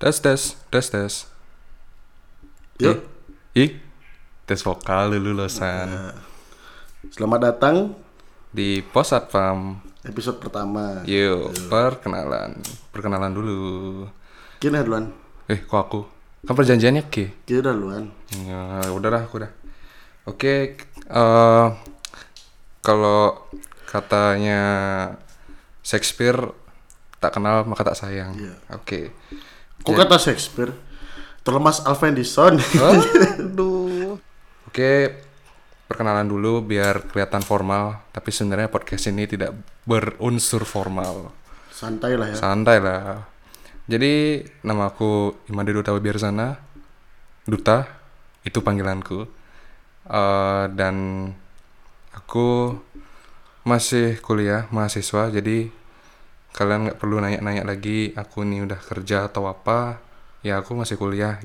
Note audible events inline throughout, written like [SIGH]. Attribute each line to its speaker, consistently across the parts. Speaker 1: Tes tes tes tes.
Speaker 2: Yuk.
Speaker 1: Ih, tes vokal dulu
Speaker 2: Nah.
Speaker 1: losan
Speaker 2: Selamat datang
Speaker 1: di pos satpam.
Speaker 2: episode pertama.
Speaker 1: Yuk, perkenalan. Perkenalan dulu.
Speaker 2: Kini duluan.
Speaker 1: Eh, kok aku? Kan perjanjiannya ke?
Speaker 2: Kini duluan.
Speaker 1: Ya, udahlah, aku udah. Oke, eh, kalau katanya Shakespeare tak kenal maka tak sayang.
Speaker 2: Iya.
Speaker 1: Oke.
Speaker 2: Kok kata Shakespeare? Terlemas Alvendison.
Speaker 1: Aduh. Oke, perkenalan dulu biar kelihatan formal, tapi sebenarnya podcast ini tidak berunsur formal.
Speaker 2: [LAUGHS] Santai lah ya.
Speaker 1: Santai lah. Jadi nama aku Imade Duta Wibiarsana. Duta itu panggilanku. Eh, dan aku masih kuliah, mahasiswa. Jadi kalian nggak perlu nanya-nanya lagi. Aku nih udah kerja atau apa? Ya aku masih kuliah.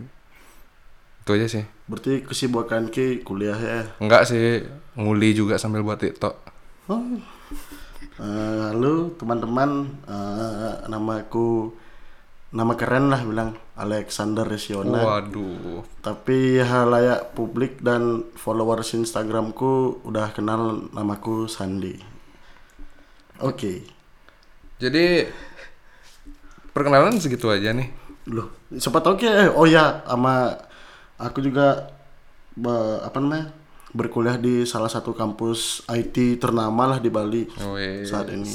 Speaker 1: Itu aja sih.
Speaker 2: Berarti kesibukan Ki kuliah ya.
Speaker 1: Enggak sih, nguli juga sambil buat TikTok.
Speaker 2: Oh. Eh, halo teman-teman, Eh, nama aku nama keren lah bilang Alexander Resiona.
Speaker 1: Waduh.
Speaker 2: Tapi halayak publik dan followers Instagramku udah kenal namaku Sandi. Oke.
Speaker 1: Jadi perkenalan segitu aja nih.
Speaker 2: Loh, siapa tahu ki eh, oh ya sama aku juga be- apa namanya? berkuliah di salah satu kampus IT ternama lah di Bali
Speaker 1: Wes.
Speaker 2: saat ini.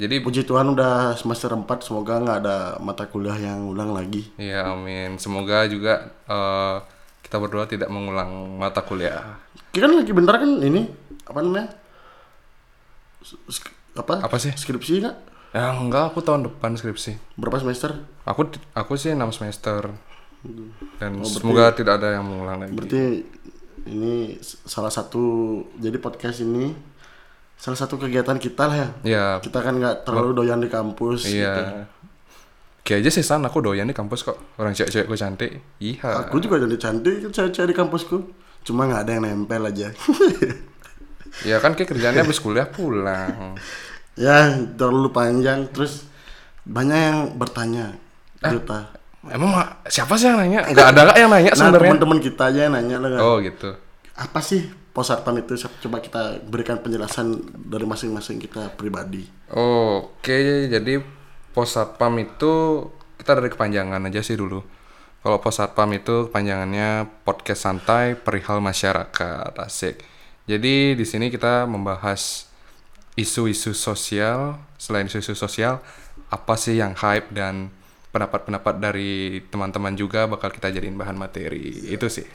Speaker 1: Jadi
Speaker 2: Puji Tuhan udah semester 4 semoga nggak ada mata kuliah yang ulang lagi.
Speaker 1: ya amin. Semoga juga eh, kita berdua tidak mengulang mata kuliah.
Speaker 2: Ki kan lagi bentar kan ini apa namanya? S- sk- apa?
Speaker 1: Apa sih?
Speaker 2: Skripsi nggak?
Speaker 1: Ya enggak, aku tahun depan skripsi.
Speaker 2: Berapa semester?
Speaker 1: Aku aku sih 6 semester.
Speaker 2: Hmm.
Speaker 1: Dan
Speaker 2: Oh,
Speaker 1: semoga tidak ada yang mengulang lagi.
Speaker 2: Berarti ini s- salah satu jadi podcast ini salah satu kegiatan kita lah ya.
Speaker 1: Ya,
Speaker 2: Kita kan nggak terlalu doyan di kampus. gitu.
Speaker 1: iya. Kayak aja sih San, aku doyan di kampus kok. Orang cewek-cewek gue cantik. Iya.
Speaker 2: Aku juga jadi cantik cewek-cewek di kampusku. Cuma nggak ada yang nempel aja. [LAUGHS]
Speaker 1: Ya kan kayak kerjanya habis kuliah pulang.
Speaker 2: ya terlalu panjang. Terus banyak yang bertanya. Duta.
Speaker 1: Emang Ma, siapa sih yang nanya? Enggak ada nggak yang Eh, nanya
Speaker 2: Nah
Speaker 1: sebenarnya?
Speaker 2: teman-teman kita aja yang nanya lah kan.
Speaker 1: Oh gitu.
Speaker 2: Apa sih posatpam itu? Coba kita berikan penjelasan dari masing-masing kita pribadi.
Speaker 1: Oke, jadi pos satpam itu kita dari kepanjangan aja sih dulu. Kalau pos satpam itu kepanjangannya podcast santai perihal masyarakat, asik. Jadi di sini kita membahas isu-isu sosial. Selain isu-isu sosial, apa sih yang hype dan pendapat-pendapat dari teman-teman juga bakal kita jadiin bahan materi. Itu sih.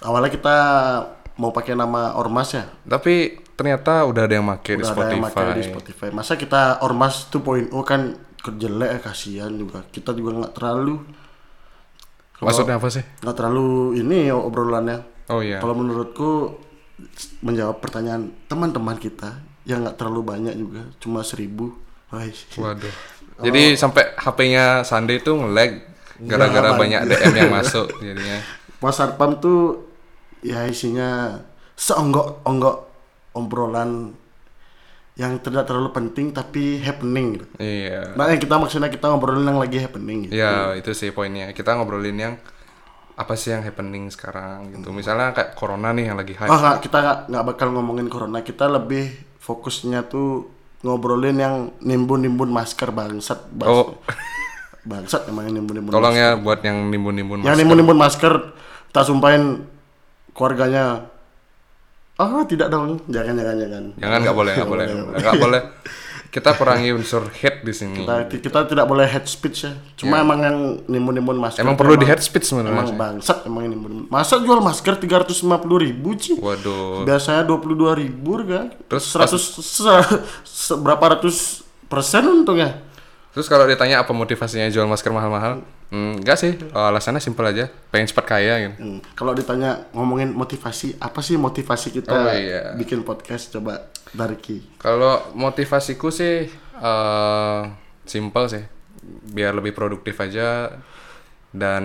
Speaker 2: Awalnya kita mau pakai nama ormas ya.
Speaker 1: Tapi ternyata udah ada yang make di
Speaker 2: Udah ada
Speaker 1: Spotify.
Speaker 2: yang pakai di Spotify. Masa kita ormas 2.0 kan kerjelek ya kasihan juga. Kita juga nggak terlalu
Speaker 1: Maksudnya apa sih?
Speaker 2: nggak terlalu ini ya obrolannya.
Speaker 1: Oh iya.
Speaker 2: Kalau menurutku s- menjawab pertanyaan teman-teman kita yang nggak terlalu banyak juga, cuma seribu. Wah,
Speaker 1: Waduh. Jadi sampai HP-nya Sandi itu nge-lag gara-gara
Speaker 2: Nggak,
Speaker 1: banyak DM
Speaker 2: [LAUGHS]
Speaker 1: yang masuk jadinya.
Speaker 2: Mas Sarpam tuh ya isinya seonggok-onggok obrolan yang tidak terlalu penting tapi happening. gitu.
Speaker 1: Iya.
Speaker 2: Nah, yang kita maksudnya kita ngobrolin yang lagi happening. gitu.
Speaker 1: Ya, itu sih poinnya. Kita ngobrolin yang apa sih yang happening sekarang gitu.
Speaker 2: Hmm.
Speaker 1: Misalnya kayak corona nih yang lagi hype.
Speaker 2: Oh, nggak, kita nggak- nggak bakal ngomongin corona. Kita lebih fokusnya tuh ngobrolin yang nimbun-nimbun masker bangsat. Bas-
Speaker 1: Oh.
Speaker 2: Bangsat emang yang nimbun-nimbun.
Speaker 1: Tolong ya buat yang nimbun-nimbun
Speaker 2: Yang
Speaker 1: Mas.
Speaker 2: nimbun-nimbun masker, kita sumpahin keluarganya. Ah, tidak dong. Jangan, jangan, jangan.
Speaker 1: Jangan nggak boleh, nggak boleh. Nggak boleh. Kita perangi unsur hate di sini.
Speaker 2: Kita, kita tidak boleh head speech ya. Cuma emang yang nimbun-nimbun masker.
Speaker 1: Emang
Speaker 2: tuh
Speaker 1: perlu di hate speech sebenarnya.
Speaker 2: Emang bangsat, emang yang nimbun. Masa jual masker 350 ribu, Ci?
Speaker 1: Waduh.
Speaker 2: biasanya 22.000 ribu kan
Speaker 1: Terus
Speaker 2: terus 100 se- se- berapa ratus persen untungnya
Speaker 1: Terus kalau ditanya apa motivasinya jual masker mahal-mahal? Hmm, enggak sih. Alasannya simpel aja. Pengen cepat kaya gitu.
Speaker 2: Hmm, kalau ditanya ngomongin motivasi apa sih motivasi kita
Speaker 1: Oh, iya.
Speaker 2: bikin podcast coba dari Ki
Speaker 1: Kalau motivasiku sih eh simple sih, biar lebih produktif aja dan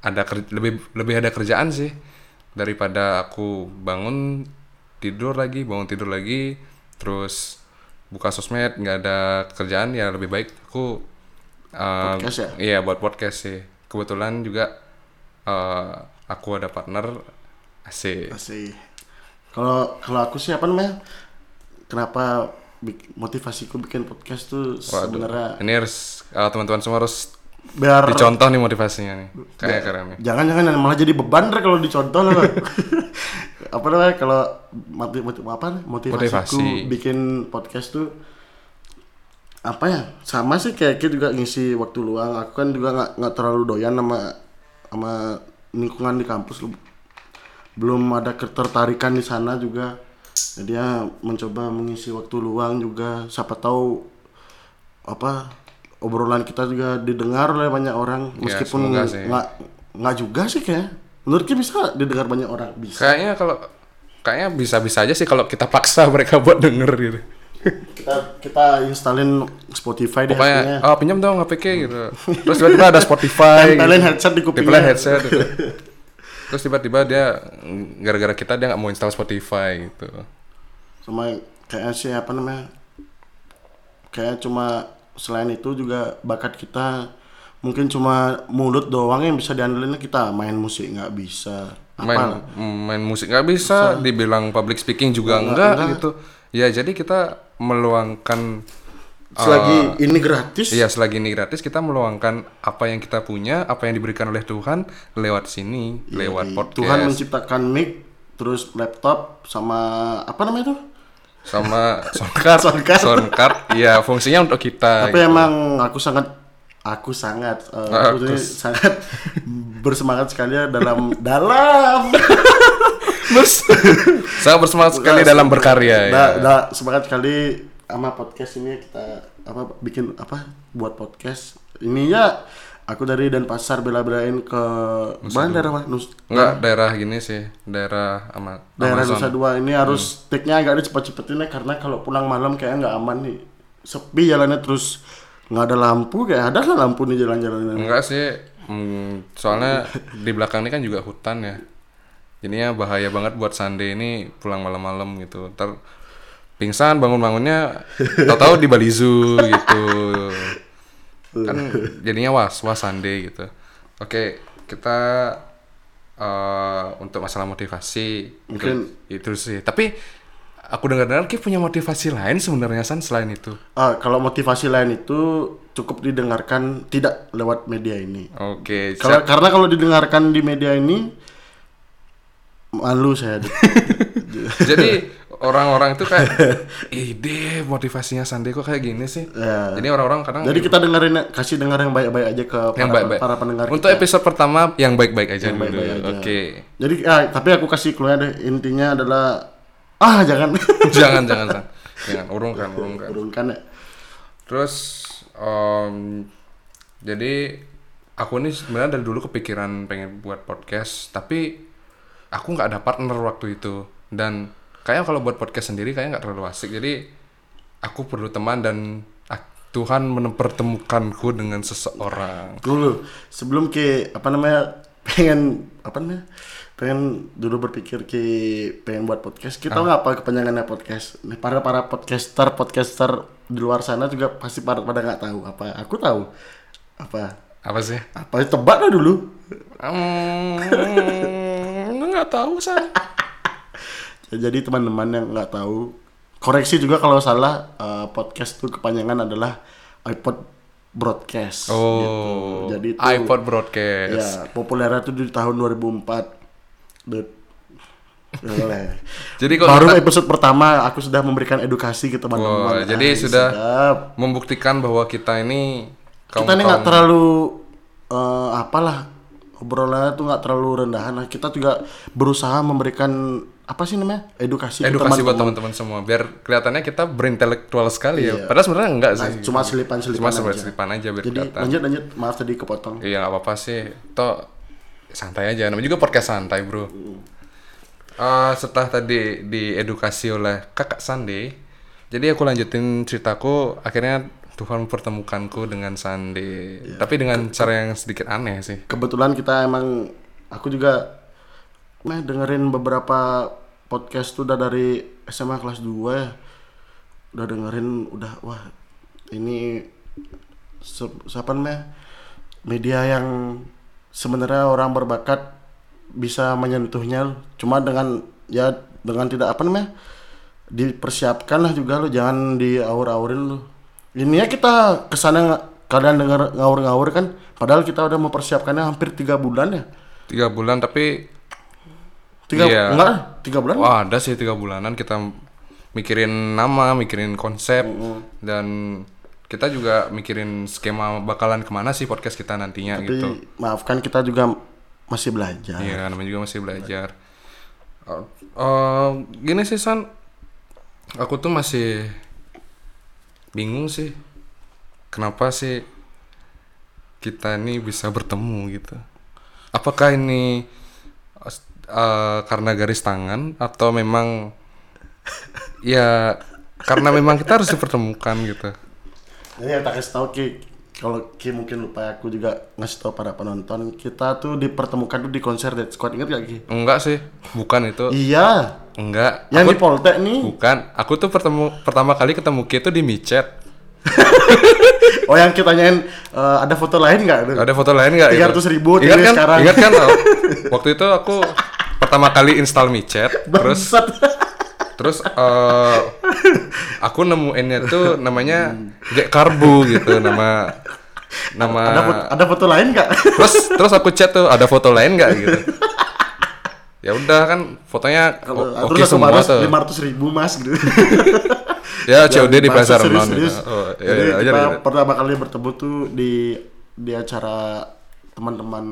Speaker 1: ada ker- lebih lebih ada kerjaan sih daripada aku bangun tidur lagi bangun tidur lagi terus buka sosmed nggak ada kerjaan ya lebih baik aku Uh,
Speaker 2: Podcast ya?
Speaker 1: Iya buat podcast sih. Kebetulan juga eh, aku ada partner asik.
Speaker 2: Asih. Kalau kalau aku sih apa namanya? Kenapa bik- motivasiku bikin podcast
Speaker 1: Waduh.
Speaker 2: tuh sebenarnya
Speaker 1: Ini harus eh, teman-teman semua harus
Speaker 2: biar
Speaker 1: dicontoh nih motivasinya nih.
Speaker 2: Iya.
Speaker 1: Kayak keren nih.
Speaker 2: jangan-jangan malah jadi beban ntar kalau dicontoh loh.
Speaker 1: [LAUGHS]
Speaker 2: apa namanya kalau mati, mati- apa motivasiku
Speaker 1: Motivasi.
Speaker 2: bikin podcast tuh apa ya sama sih kayak kita juga ngisi waktu luang aku kan juga nggak nggak terlalu doyan sama sama lingkungan di kampus lu- belum ada ketertarikan di sana juga jadi ya mencoba mengisi waktu luang juga siapa tahu apa obrolan kita juga didengar oleh banyak orang
Speaker 1: Ya,
Speaker 2: meskipun
Speaker 1: semoga sih.
Speaker 2: nggak nggak juga sih kayaknya menurut Ki bisa nggak didengar banyak orang bisa
Speaker 1: Kayaknya kalau kayaknya bisa-bisa aja sih kalau kita paksa [LAUGHS] mereka buat denger gitu.
Speaker 2: kita kita installin Spotify deh
Speaker 1: Pokoknya,
Speaker 2: hasilnya.
Speaker 1: oh pinjam dong HPK gitu. Terus tiba-tiba ada Spotify.
Speaker 2: [LAUGHS]
Speaker 1: gitu.
Speaker 2: Tempelin headset di kupingnya.
Speaker 1: Tempelin headset. gitu. Terus tiba-tiba dia gara-gara kita dia nggak mau install Spotify gitu.
Speaker 2: sama kayaknya sih apa namanya kayak cuma selain itu juga bakat kita mungkin cuma mulut doang yang bisa diandelin kita main musik nggak bisa
Speaker 1: Main
Speaker 2: apa
Speaker 1: main musik nggak bisa, dibilang public speaking juga
Speaker 2: Nggak,
Speaker 1: enggak,
Speaker 2: nggak.
Speaker 1: gitu. Ya jadi kita meluangkan
Speaker 2: selagi ini gratis
Speaker 1: eh, Iya, selagi ini gratis kita meluangkan apa yang kita punya, apa yang diberikan oleh Tuhan lewat sini, lewat
Speaker 2: Jadi,
Speaker 1: podcast.
Speaker 2: Iya, Tuhan menciptakan mic terus laptop sama apa namanya tuh
Speaker 1: sama soundcard,
Speaker 2: [LAUGHS] Soundcard.
Speaker 1: soundcard. Iya, fungsinya untuk kita.
Speaker 2: tapi emang aku sangat aku sangat eh, aku
Speaker 1: Aku
Speaker 2: ini sangat [LAUGHS] bersemangat sekali ya dalam dalam
Speaker 1: [LAUGHS] Saya bersemangat [LAUGHS] sekali dalam berkarya.
Speaker 2: Nah,
Speaker 1: ya.
Speaker 2: nah, semangat sekali sama podcast ini kita apa bikin apa buat podcast. Ininya aku dari Denpasar bela-belain ke mana daerah mana? Nus-
Speaker 1: Enggak daerah gini sih, daerah ama,
Speaker 2: daerah
Speaker 1: Amazon.
Speaker 2: Nusa Dua ini
Speaker 1: Hmm.
Speaker 2: harus take-nya agak dicepet-cepetin ya karena kalau pulang malam kayaknya nggak aman nih. Sepi jalannya terus nggak ada lampu kayak ada lah lampu nih jalan-jalan.
Speaker 1: Enggak sih, mm, soalnya di belakang ini kan juga hutan ya. Jadinya bahaya banget buat Sande ini pulang malam-malam gitu. Ntar pingsan bangun-bangunnya tahu-tahu di Balizu gitu. Kan jadinya was-was Sande gitu. Oke, kita eh, untuk masalah motivasi
Speaker 2: Mungkin-
Speaker 1: itu sih. Tapi aku dengar-dengar Ki punya motivasi lain sebenarnya San selain itu.
Speaker 2: Ah, kalau motivasi lain itu cukup didengarkan tidak lewat media ini.
Speaker 1: Oke,
Speaker 2: Kalau
Speaker 1: siap.
Speaker 2: karena kalau didengarkan di media ini malu saya. [LAUGHS]
Speaker 1: Jadi orang-orang itu kayak ide motivasinya Sandi kok kayak gini sih.
Speaker 2: Ya.
Speaker 1: Jadi orang-orang kadang
Speaker 2: Jadi kita dengerin kasih dengar yang baik-baik aja ke para,
Speaker 1: yang baik-baik.
Speaker 2: para pendengar.
Speaker 1: Untuk
Speaker 2: kita.
Speaker 1: episode pertama yang baik-baik aja
Speaker 2: Yang
Speaker 1: dulu.
Speaker 2: baik-baik aja.
Speaker 1: Oke. [LAUGHS]
Speaker 2: Jadi ah, tapi aku kasih clue deh intinya adalah ah jangan
Speaker 1: jangan jangan San. jangan urungkan urungkan.
Speaker 2: [LAUGHS] turunkan ya.
Speaker 1: Terus em, jadi aku nih sebenarnya dari dulu kepikiran pengen buat podcast tapi aku nggak ada partner waktu itu dan kayaknya kalau buat podcast sendiri kayaknya nggak terlalu asik jadi aku perlu teman dan ah, Tuhan mempertemukanku dengan seseorang.
Speaker 2: Dulu sebelum ke apa namanya pengen apa namanya pengen dulu berpikir ke pengen buat podcast
Speaker 1: Ah.
Speaker 2: kita nggak apa kepanjangannya podcast Nih, para para podcaster podcaster di luar sana juga pasti pada pada nggak tahu apa aku tahu apa
Speaker 1: Apa sih?
Speaker 2: apa tebak lah dulu
Speaker 1: Hmm, nggak tahu saya.
Speaker 2: Ya, Jadi teman-teman yang nggak tahu, koreksi juga kalau salah eh, podcast tuh kepanjangan adalah iPod Broadcast.
Speaker 1: Oh,
Speaker 2: Gitu. Jadi itu
Speaker 1: iPod broadcast.
Speaker 2: ya populernya tuh di tahun 2004. Dude. Boleh.
Speaker 1: [LAUGHS] Jadi kalau
Speaker 2: Baru episode pertama aku sudah memberikan edukasi ke
Speaker 1: Wah,
Speaker 2: teman-teman.
Speaker 1: jadi
Speaker 2: Ah,
Speaker 1: sudah
Speaker 2: sedap.
Speaker 1: membuktikan bahwa kita ini kaum
Speaker 2: kita ini nggak terlalu eh, apalah obrolannya tuh nggak terlalu rendahan. Nah, Kita juga berusaha memberikan apa sih namanya edukasi, ke
Speaker 1: edukasi buat
Speaker 2: teman-teman.
Speaker 1: teman-teman semua biar kelihatannya kita berintelektual sekali ya. Padahal sebenarnya enggak sih.
Speaker 2: Cuma selipan-selipan
Speaker 1: Cuma
Speaker 2: Iya. aja.
Speaker 1: selipan aja biar
Speaker 2: Jadi
Speaker 1: kelihatan.
Speaker 2: lanjut lanjut maaf tadi kepotong.
Speaker 1: Iya nggak apa-apa sih. Toh santai aja. Namanya juga podcast santai bro.
Speaker 2: Hmm.
Speaker 1: Eh, setelah tadi diedukasi oleh kakak Sandi, jadi aku lanjutin ceritaku. Akhirnya Tuhan mempertemukanku dengan Sandi.
Speaker 2: Iya.
Speaker 1: Tapi dengan cara yang sedikit aneh sih.
Speaker 2: Kebetulan kita emang aku juga meh dengerin beberapa podcast tuh udah dari SMA kelas 2 ya. Udah dengerin udah wah ini se- siapa namanya media yang sebenarnya orang berbakat bisa menyentuhnya cuma dengan ya dengan tidak apa namanya dipersiapkan lah juga lo jangan diaur-aurin lo ini ya kita kesana nggak- kalian dengar ngawur-ngawur kan padahal kita udah mempersiapkannya hampir tiga bulan ya
Speaker 1: tiga bulan tapi
Speaker 2: tiga
Speaker 1: Iya.
Speaker 2: enggak lah, tiga bulan
Speaker 1: wah Oh, ada sih tiga bulanan kita mikirin nama mikirin konsep dan kita juga mikirin skema bakalan kemana sih podcast kita nantinya
Speaker 2: tapi
Speaker 1: gitu
Speaker 2: maafkan kita juga masih belajar
Speaker 1: Iya, namanya juga masih belajar. Eh, eh, gini sih San, aku tuh masih bingung sih, kenapa sih kita ini bisa bertemu gitu? Apakah ini eh, karena garis tangan atau
Speaker 2: [LAUGHS]
Speaker 1: memang ya karena memang kita harus dipertemukan gitu?
Speaker 2: Ini yang Iya, tak kasih tau Ki Kalau Ki mungkin lupa aku juga ngasih tau para penonton Kita tuh dipertemukan tuh di konser Dead Squad Ingat gak Ki?
Speaker 1: Enggak sih, bukan itu,
Speaker 2: Iya
Speaker 1: enggak.
Speaker 2: Yang
Speaker 1: Aku-
Speaker 2: di Poltek nih
Speaker 1: Bukan, aku tuh pertemu pertama kali ketemu Ki itu di micet.
Speaker 2: Oh yang kita tanyain eh, Ada foto lain gak?
Speaker 1: Ada foto lain nggak? gitu?
Speaker 2: 300 ribu
Speaker 1: Ingat
Speaker 2: tinggi
Speaker 1: kan?
Speaker 2: sekarang.
Speaker 1: Ingat
Speaker 2: [LAUGHS]
Speaker 1: kan? tau? Waktu itu aku pertama kali install micet, terus
Speaker 2: Bangsat.
Speaker 1: terus eh, aku nemuinnya tuh namanya Jack Karbu gitu nama nama
Speaker 2: ada, foto, ada foto lain gak?
Speaker 1: [LAUGHS] terus terus aku chat tuh ada foto lain nggak gitu ya udah kan fotonya
Speaker 2: Kalau
Speaker 1: o- Oh, oke
Speaker 2: terus aku
Speaker 1: semua
Speaker 2: balas
Speaker 1: tuh
Speaker 2: 500 ribu mas gitu
Speaker 1: ya COD di
Speaker 2: Bangsat,
Speaker 1: pasar
Speaker 2: serius,
Speaker 1: non
Speaker 2: serius.
Speaker 1: gitu. oh, ya,
Speaker 2: Jadi
Speaker 1: ya, aja,
Speaker 2: kita
Speaker 1: aja.
Speaker 2: pertama kali bertemu tuh di di acara teman-teman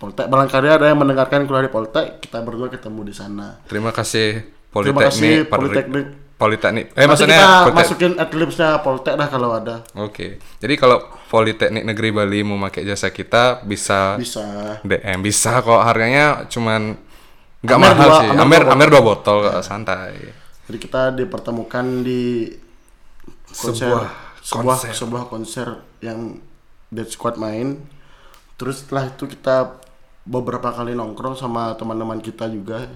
Speaker 2: Poltek Barangkali ada yang mendengarkan kuliah di Poltek Kita berdua ketemu di sana
Speaker 1: terima kasih
Speaker 2: Terima
Speaker 1: Politeknik
Speaker 2: kasih,
Speaker 1: Polri-
Speaker 2: Politeknik.
Speaker 1: Politeknik eh
Speaker 2: Nanti
Speaker 1: maksudnya
Speaker 2: kita
Speaker 1: Politek-
Speaker 2: masukin adlibsnya Poltek dah kalau ada.
Speaker 1: Oke, jadi kalau Politeknik Negeri Bali mau pakai jasa kita bisa
Speaker 2: Bisa.
Speaker 1: DM bisa kok harganya cuman nggak
Speaker 2: Amer
Speaker 1: mahal
Speaker 2: dua-
Speaker 1: sih.
Speaker 2: Amer
Speaker 1: Amer
Speaker 2: dua Iya.
Speaker 1: Amer dua botol kok, santai.
Speaker 2: Jadi kita dipertemukan di konser,
Speaker 1: Sebuah
Speaker 2: sebuah
Speaker 1: konser.
Speaker 2: sebuah konser yang Dead Squad main. Terus setelah itu kita beberapa kali nongkrong sama teman-teman kita juga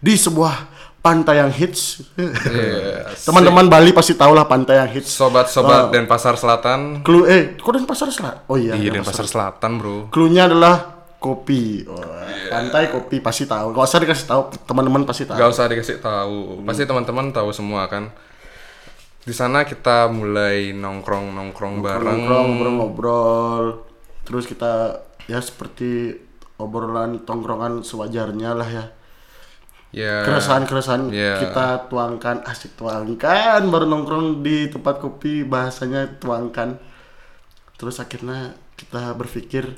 Speaker 2: di sebuah pantai yang
Speaker 1: [LAUGHS]
Speaker 2: hits.
Speaker 1: Iya,
Speaker 2: Teman-teman Bali pasti tahu lah pantai yang hits.
Speaker 1: Sobat-sobat Denpasar Selatan,
Speaker 2: Clue eh kok Denpasar Selatan? Oh iya.
Speaker 1: iya
Speaker 2: Denpasar
Speaker 1: Denpasar Selatan bro.
Speaker 2: Cluenya adalah kopi. Wah, Pantai kopi pasti tahu. Gak usah dikasih tahu, teman-teman pasti tahu.
Speaker 1: Gak usah dikasih tahu, pasti teman-teman tahu semua kan. Di sana kita mulai nongkrong nongkrong bareng.
Speaker 2: Nongkrong, ngobrol-ngobrol. Terus kita ya seperti obrolan tongkrongan sewajarnya lah ya.
Speaker 1: Ya.
Speaker 2: Keresahan-keresahan
Speaker 1: Iya.
Speaker 2: kita tuangkan, asik tuangkan baru nongkrong di tempat kopi bahasanya tuangkan. Terus akhirnya kita berpikir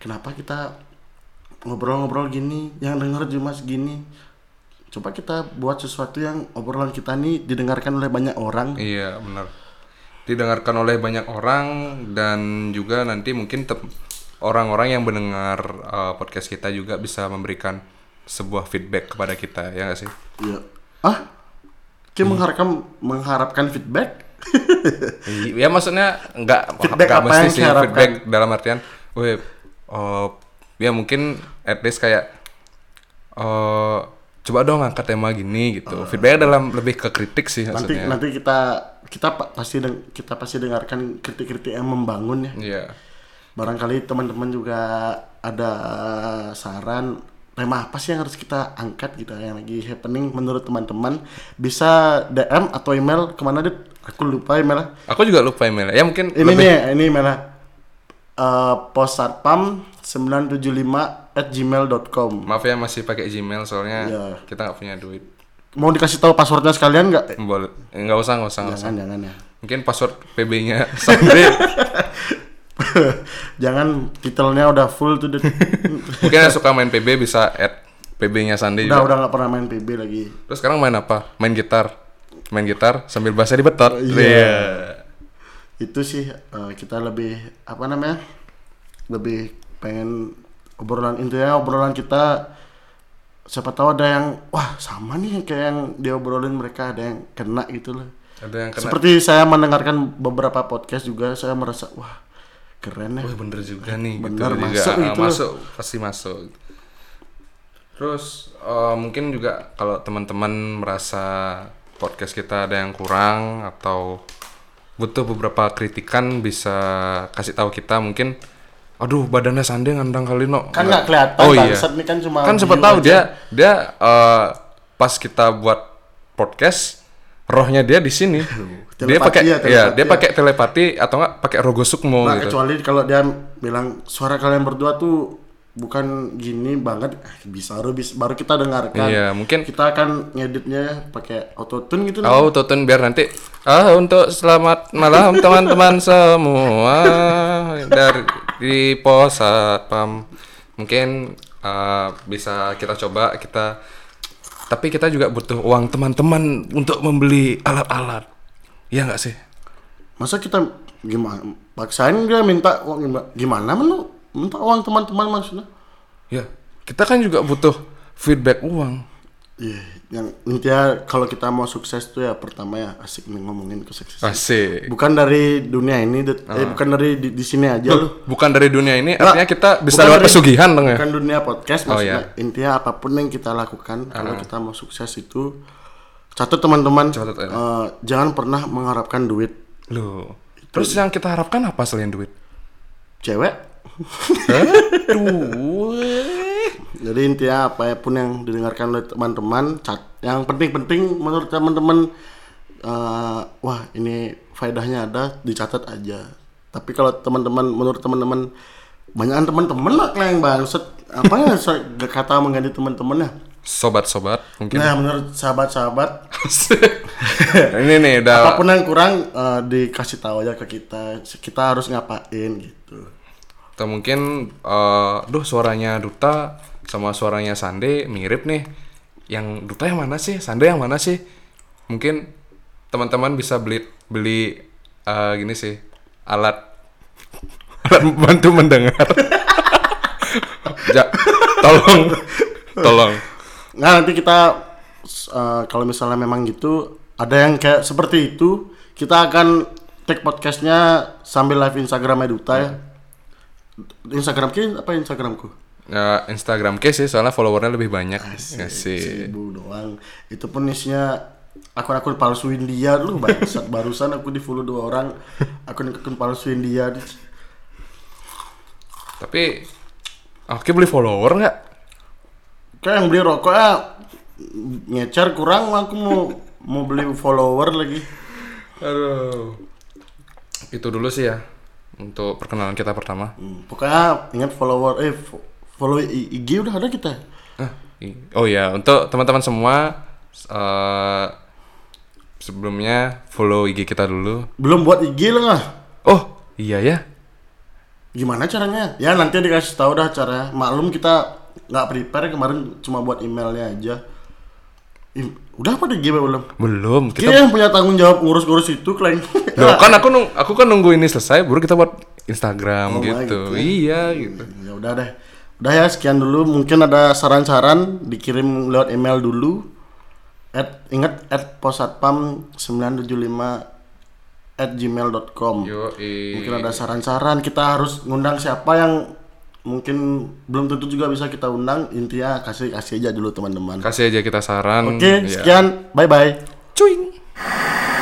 Speaker 2: kenapa kita ngobrol-ngobrol gini, yang denger cuma segini. Coba kita buat sesuatu yang obrolan kita nih didengarkan oleh banyak orang.
Speaker 1: Iya benar. Didengarkan oleh banyak orang dan juga nanti mungkin tem- orang-orang yang mendengar uh, podcast kita juga bisa memberikan sebuah feedback kepada kita ya nggak sih?
Speaker 2: Iya. Ah? Ki
Speaker 1: Iya.
Speaker 2: mengharapkan mengharapkan feedback?
Speaker 1: I- ya maksudnya nggak
Speaker 2: Feedback
Speaker 1: nggak
Speaker 2: apa
Speaker 1: mesti
Speaker 2: yang
Speaker 1: sih
Speaker 2: diharapkan?
Speaker 1: feedback dalam artian, weh, oh, ya mungkin at least kayak oh, coba dong angkat tema gini gitu. Feedback dalam lebih ke kritik sih
Speaker 2: Ah. nanti
Speaker 1: maksudnya.
Speaker 2: nanti kita kita pa- pasti deng- kita pasti dengarkan kritik-kritik yang membangun ya.
Speaker 1: Iya.
Speaker 2: Barangkali teman-teman juga ada saran tema apa sih yang harus kita angkat gitu yang lagi happening menurut teman-teman bisa DM atau email kemana dit? Aku lupa emailnya.
Speaker 1: Aku juga lupa email. Ya mungkin
Speaker 2: Ini
Speaker 1: lebih
Speaker 2: nih, ini emailnya eh posatpam 975 at gmail.com
Speaker 1: Maaf ya masih pakai Gmail soalnya
Speaker 2: Iya.
Speaker 1: kita nggak punya duit.
Speaker 2: mau dikasih tahu passwordnya sekalian nggak Eh,
Speaker 1: Boleh. Nggak usah, nggak usah, nggak usah.
Speaker 2: jangan jangan ya [LAUGHS]
Speaker 1: Mungkin password [LAUGHS] PB-nya Sandi.
Speaker 2: jangan titelnya udah full
Speaker 1: [LAUGHS]
Speaker 2: tuh Dit.
Speaker 1: Mungkin yang suka main PB bisa add PB-nya Sandi
Speaker 2: udah
Speaker 1: juga.
Speaker 2: udah nggak pernah main PB lagi
Speaker 1: Terus sekarang main apa? Main gitar. Main gitar sambil bahasa dibetot.
Speaker 2: Iya.
Speaker 1: Iya.
Speaker 2: itu sih eh, kita lebih apa namanya lebih pengen obrolan intinya obrolan kita siapa tahu ada yang wah sama nih kayak yang dia obrolin mereka ada yang kena gitu loh
Speaker 1: Ada yang kena.
Speaker 2: seperti saya mendengarkan beberapa podcast juga saya merasa wah keren ya
Speaker 1: Wah, bener juga nih
Speaker 2: Bener,
Speaker 1: gitu
Speaker 2: masuk
Speaker 1: juga. Ah,
Speaker 2: gitu loh.
Speaker 1: masuk, pasti masuk. Terus eh, mungkin juga kalau teman-teman merasa podcast kita ada yang kurang atau butuh beberapa kritikan bisa kasih tahu kita mungkin aduh badannya Sande ngandang kali no
Speaker 2: Kan nggak kelihatan,
Speaker 1: oh iya
Speaker 2: bangsat, ini kan cuma
Speaker 1: kan sempat
Speaker 2: audio
Speaker 1: tahu
Speaker 2: aja.
Speaker 1: dia dia eh, pas kita buat podcast rohnya dia di sini dia
Speaker 2: telepati
Speaker 1: pakai
Speaker 2: ya,
Speaker 1: ya,
Speaker 2: telepati
Speaker 1: dia
Speaker 2: ya.
Speaker 1: pakai telepati atau nggak pakai rogo sukmo
Speaker 2: Nah,
Speaker 1: gitu
Speaker 2: kecuali kalau dia bilang suara kalian berdua tuh bukan gini banget, eh, bisa baru bis- baru kita dengarkan.
Speaker 1: Iya, mungkin-
Speaker 2: kita akan ngeditnya pakai autotune gitu. nah.
Speaker 1: Oh, tutun biar nanti ah untuk selamat malam
Speaker 2: [LAUGHS]
Speaker 1: teman-teman semua dari di pos satpam. Mungkin eh, bisa kita coba kita tapi kita juga butuh uang teman-teman untuk membeli alat-alat. Iya nggak sih?
Speaker 2: Masa kita gimana paksain dia minta uang gimana? Gimana men lu? Minta uang teman-teman maksudnya?
Speaker 1: Ya, kita kan juga butuh feedback uang.
Speaker 2: Iya, yang intinya kalau kita mau sukses tuh ya pertama ya asik nih ngomongin kesuksesan.
Speaker 1: Asik. Ah.
Speaker 2: Bukan dari dunia ini, det- eh, bukan dari di, di sini aja loh.
Speaker 1: Bukan dari dunia ini, artinya kita bisa
Speaker 2: Bukan
Speaker 1: lewat
Speaker 2: dari-
Speaker 1: pesugihan dong ya.
Speaker 2: Bukan dunia podcast
Speaker 1: Oh, Ah.
Speaker 2: maksudnya. Intinya apapun yang kita lakukan kalau kita mau sukses itu catat teman-teman
Speaker 1: Catat, ya.
Speaker 2: eh, jangan pernah mengharapkan duit
Speaker 1: Loh. Terus yang kita harapkan apa selain
Speaker 2: [LAUGHS]
Speaker 1: duit?
Speaker 2: cewek.
Speaker 1: Duit.
Speaker 2: Jadi intinya apapun yang didengarkan oleh teman-teman cat yang penting-penting menurut teman-teman eh, wah ini faedahnya ada dicatat aja. Tapi kalau teman-teman menurut teman-teman banyakan teman-teman lah yang bangset apa ya [LAUGHS] saya gak kata mengganti teman-teman ya.
Speaker 1: sobat-sobat mungkin
Speaker 2: Nah menurut sahabat-sahabat
Speaker 1: [LAUGHS] ini nih udah
Speaker 2: apapun yang kurang eh, dikasih tahu aja ke kita kita harus ngapain gitu
Speaker 1: atau mungkin eh, duh suaranya Duta sama suaranya Sande mirip nih yang Duta yang mana sih Sande yang mana sih mungkin teman-teman bisa beli beli eh, gini sih alat alat bantu mendengar Ja- tolong tolong
Speaker 2: nah nanti kita s- eh, kalau misalnya memang gitu ada yang kayak seperti itu kita akan take podcastnya sambil live Instagramnya Duta ya Instagram kita apa Instagramku
Speaker 1: Eh, Instagram case sih soalnya followernya lebih banyak Nggak sih
Speaker 2: seribu doang itu pun isinya akun-akun palsuin dia lu bangsat [LAUGHS] barusan aku di follow dua orang akun-akun palsuin dia
Speaker 1: tapi oke beli follower nggak
Speaker 2: Kayak yang beli rokok ah ngecer kurang aku mau mau beli follower lagi.
Speaker 1: Aduh. Itu dulu sih ya untuk perkenalan kita pertama.
Speaker 2: Hmm, Pokoknya ingat follower eh fo- follow I- IG udah ada kita.
Speaker 1: Hah? I- Oh ya, untuk teman-teman semua eh, sebelumnya follow IG kita dulu.
Speaker 2: Belum buat IG lah nggak?
Speaker 1: Oh, iya ya.
Speaker 2: Gimana caranya? Ya nanti dikasih tahu dah caranya. Maklum kita nggak prepare kemarin cuma buat emailnya aja. Im- udah apa di IG belum?
Speaker 1: Belum.
Speaker 2: Kita
Speaker 1: Kita
Speaker 2: yang punya tanggung jawab ngurus-ngurus itu kleng. [LAUGHS]
Speaker 1: Loh, kan aku nung aku kan nunggu ini selesai baru kita buat Instagram
Speaker 2: Oh,
Speaker 1: gitu.
Speaker 2: gitu.
Speaker 1: Iya gitu.
Speaker 2: ya udah deh. Udah ya sekian dulu. Mungkin ada saran-saran dikirim lewat email dulu. At, ingat at posatpam 975 at gmail.com
Speaker 1: Yo, iya.
Speaker 2: Mungkin ada saran-saran kita harus ngundang siapa yang mungkin belum tentu juga bisa kita undang intinya kasih kasih aja dulu teman-teman. Oke,
Speaker 1: Iya. kasih aja kita saran. Iya.
Speaker 2: sekian. Bye bye.
Speaker 1: Cuing.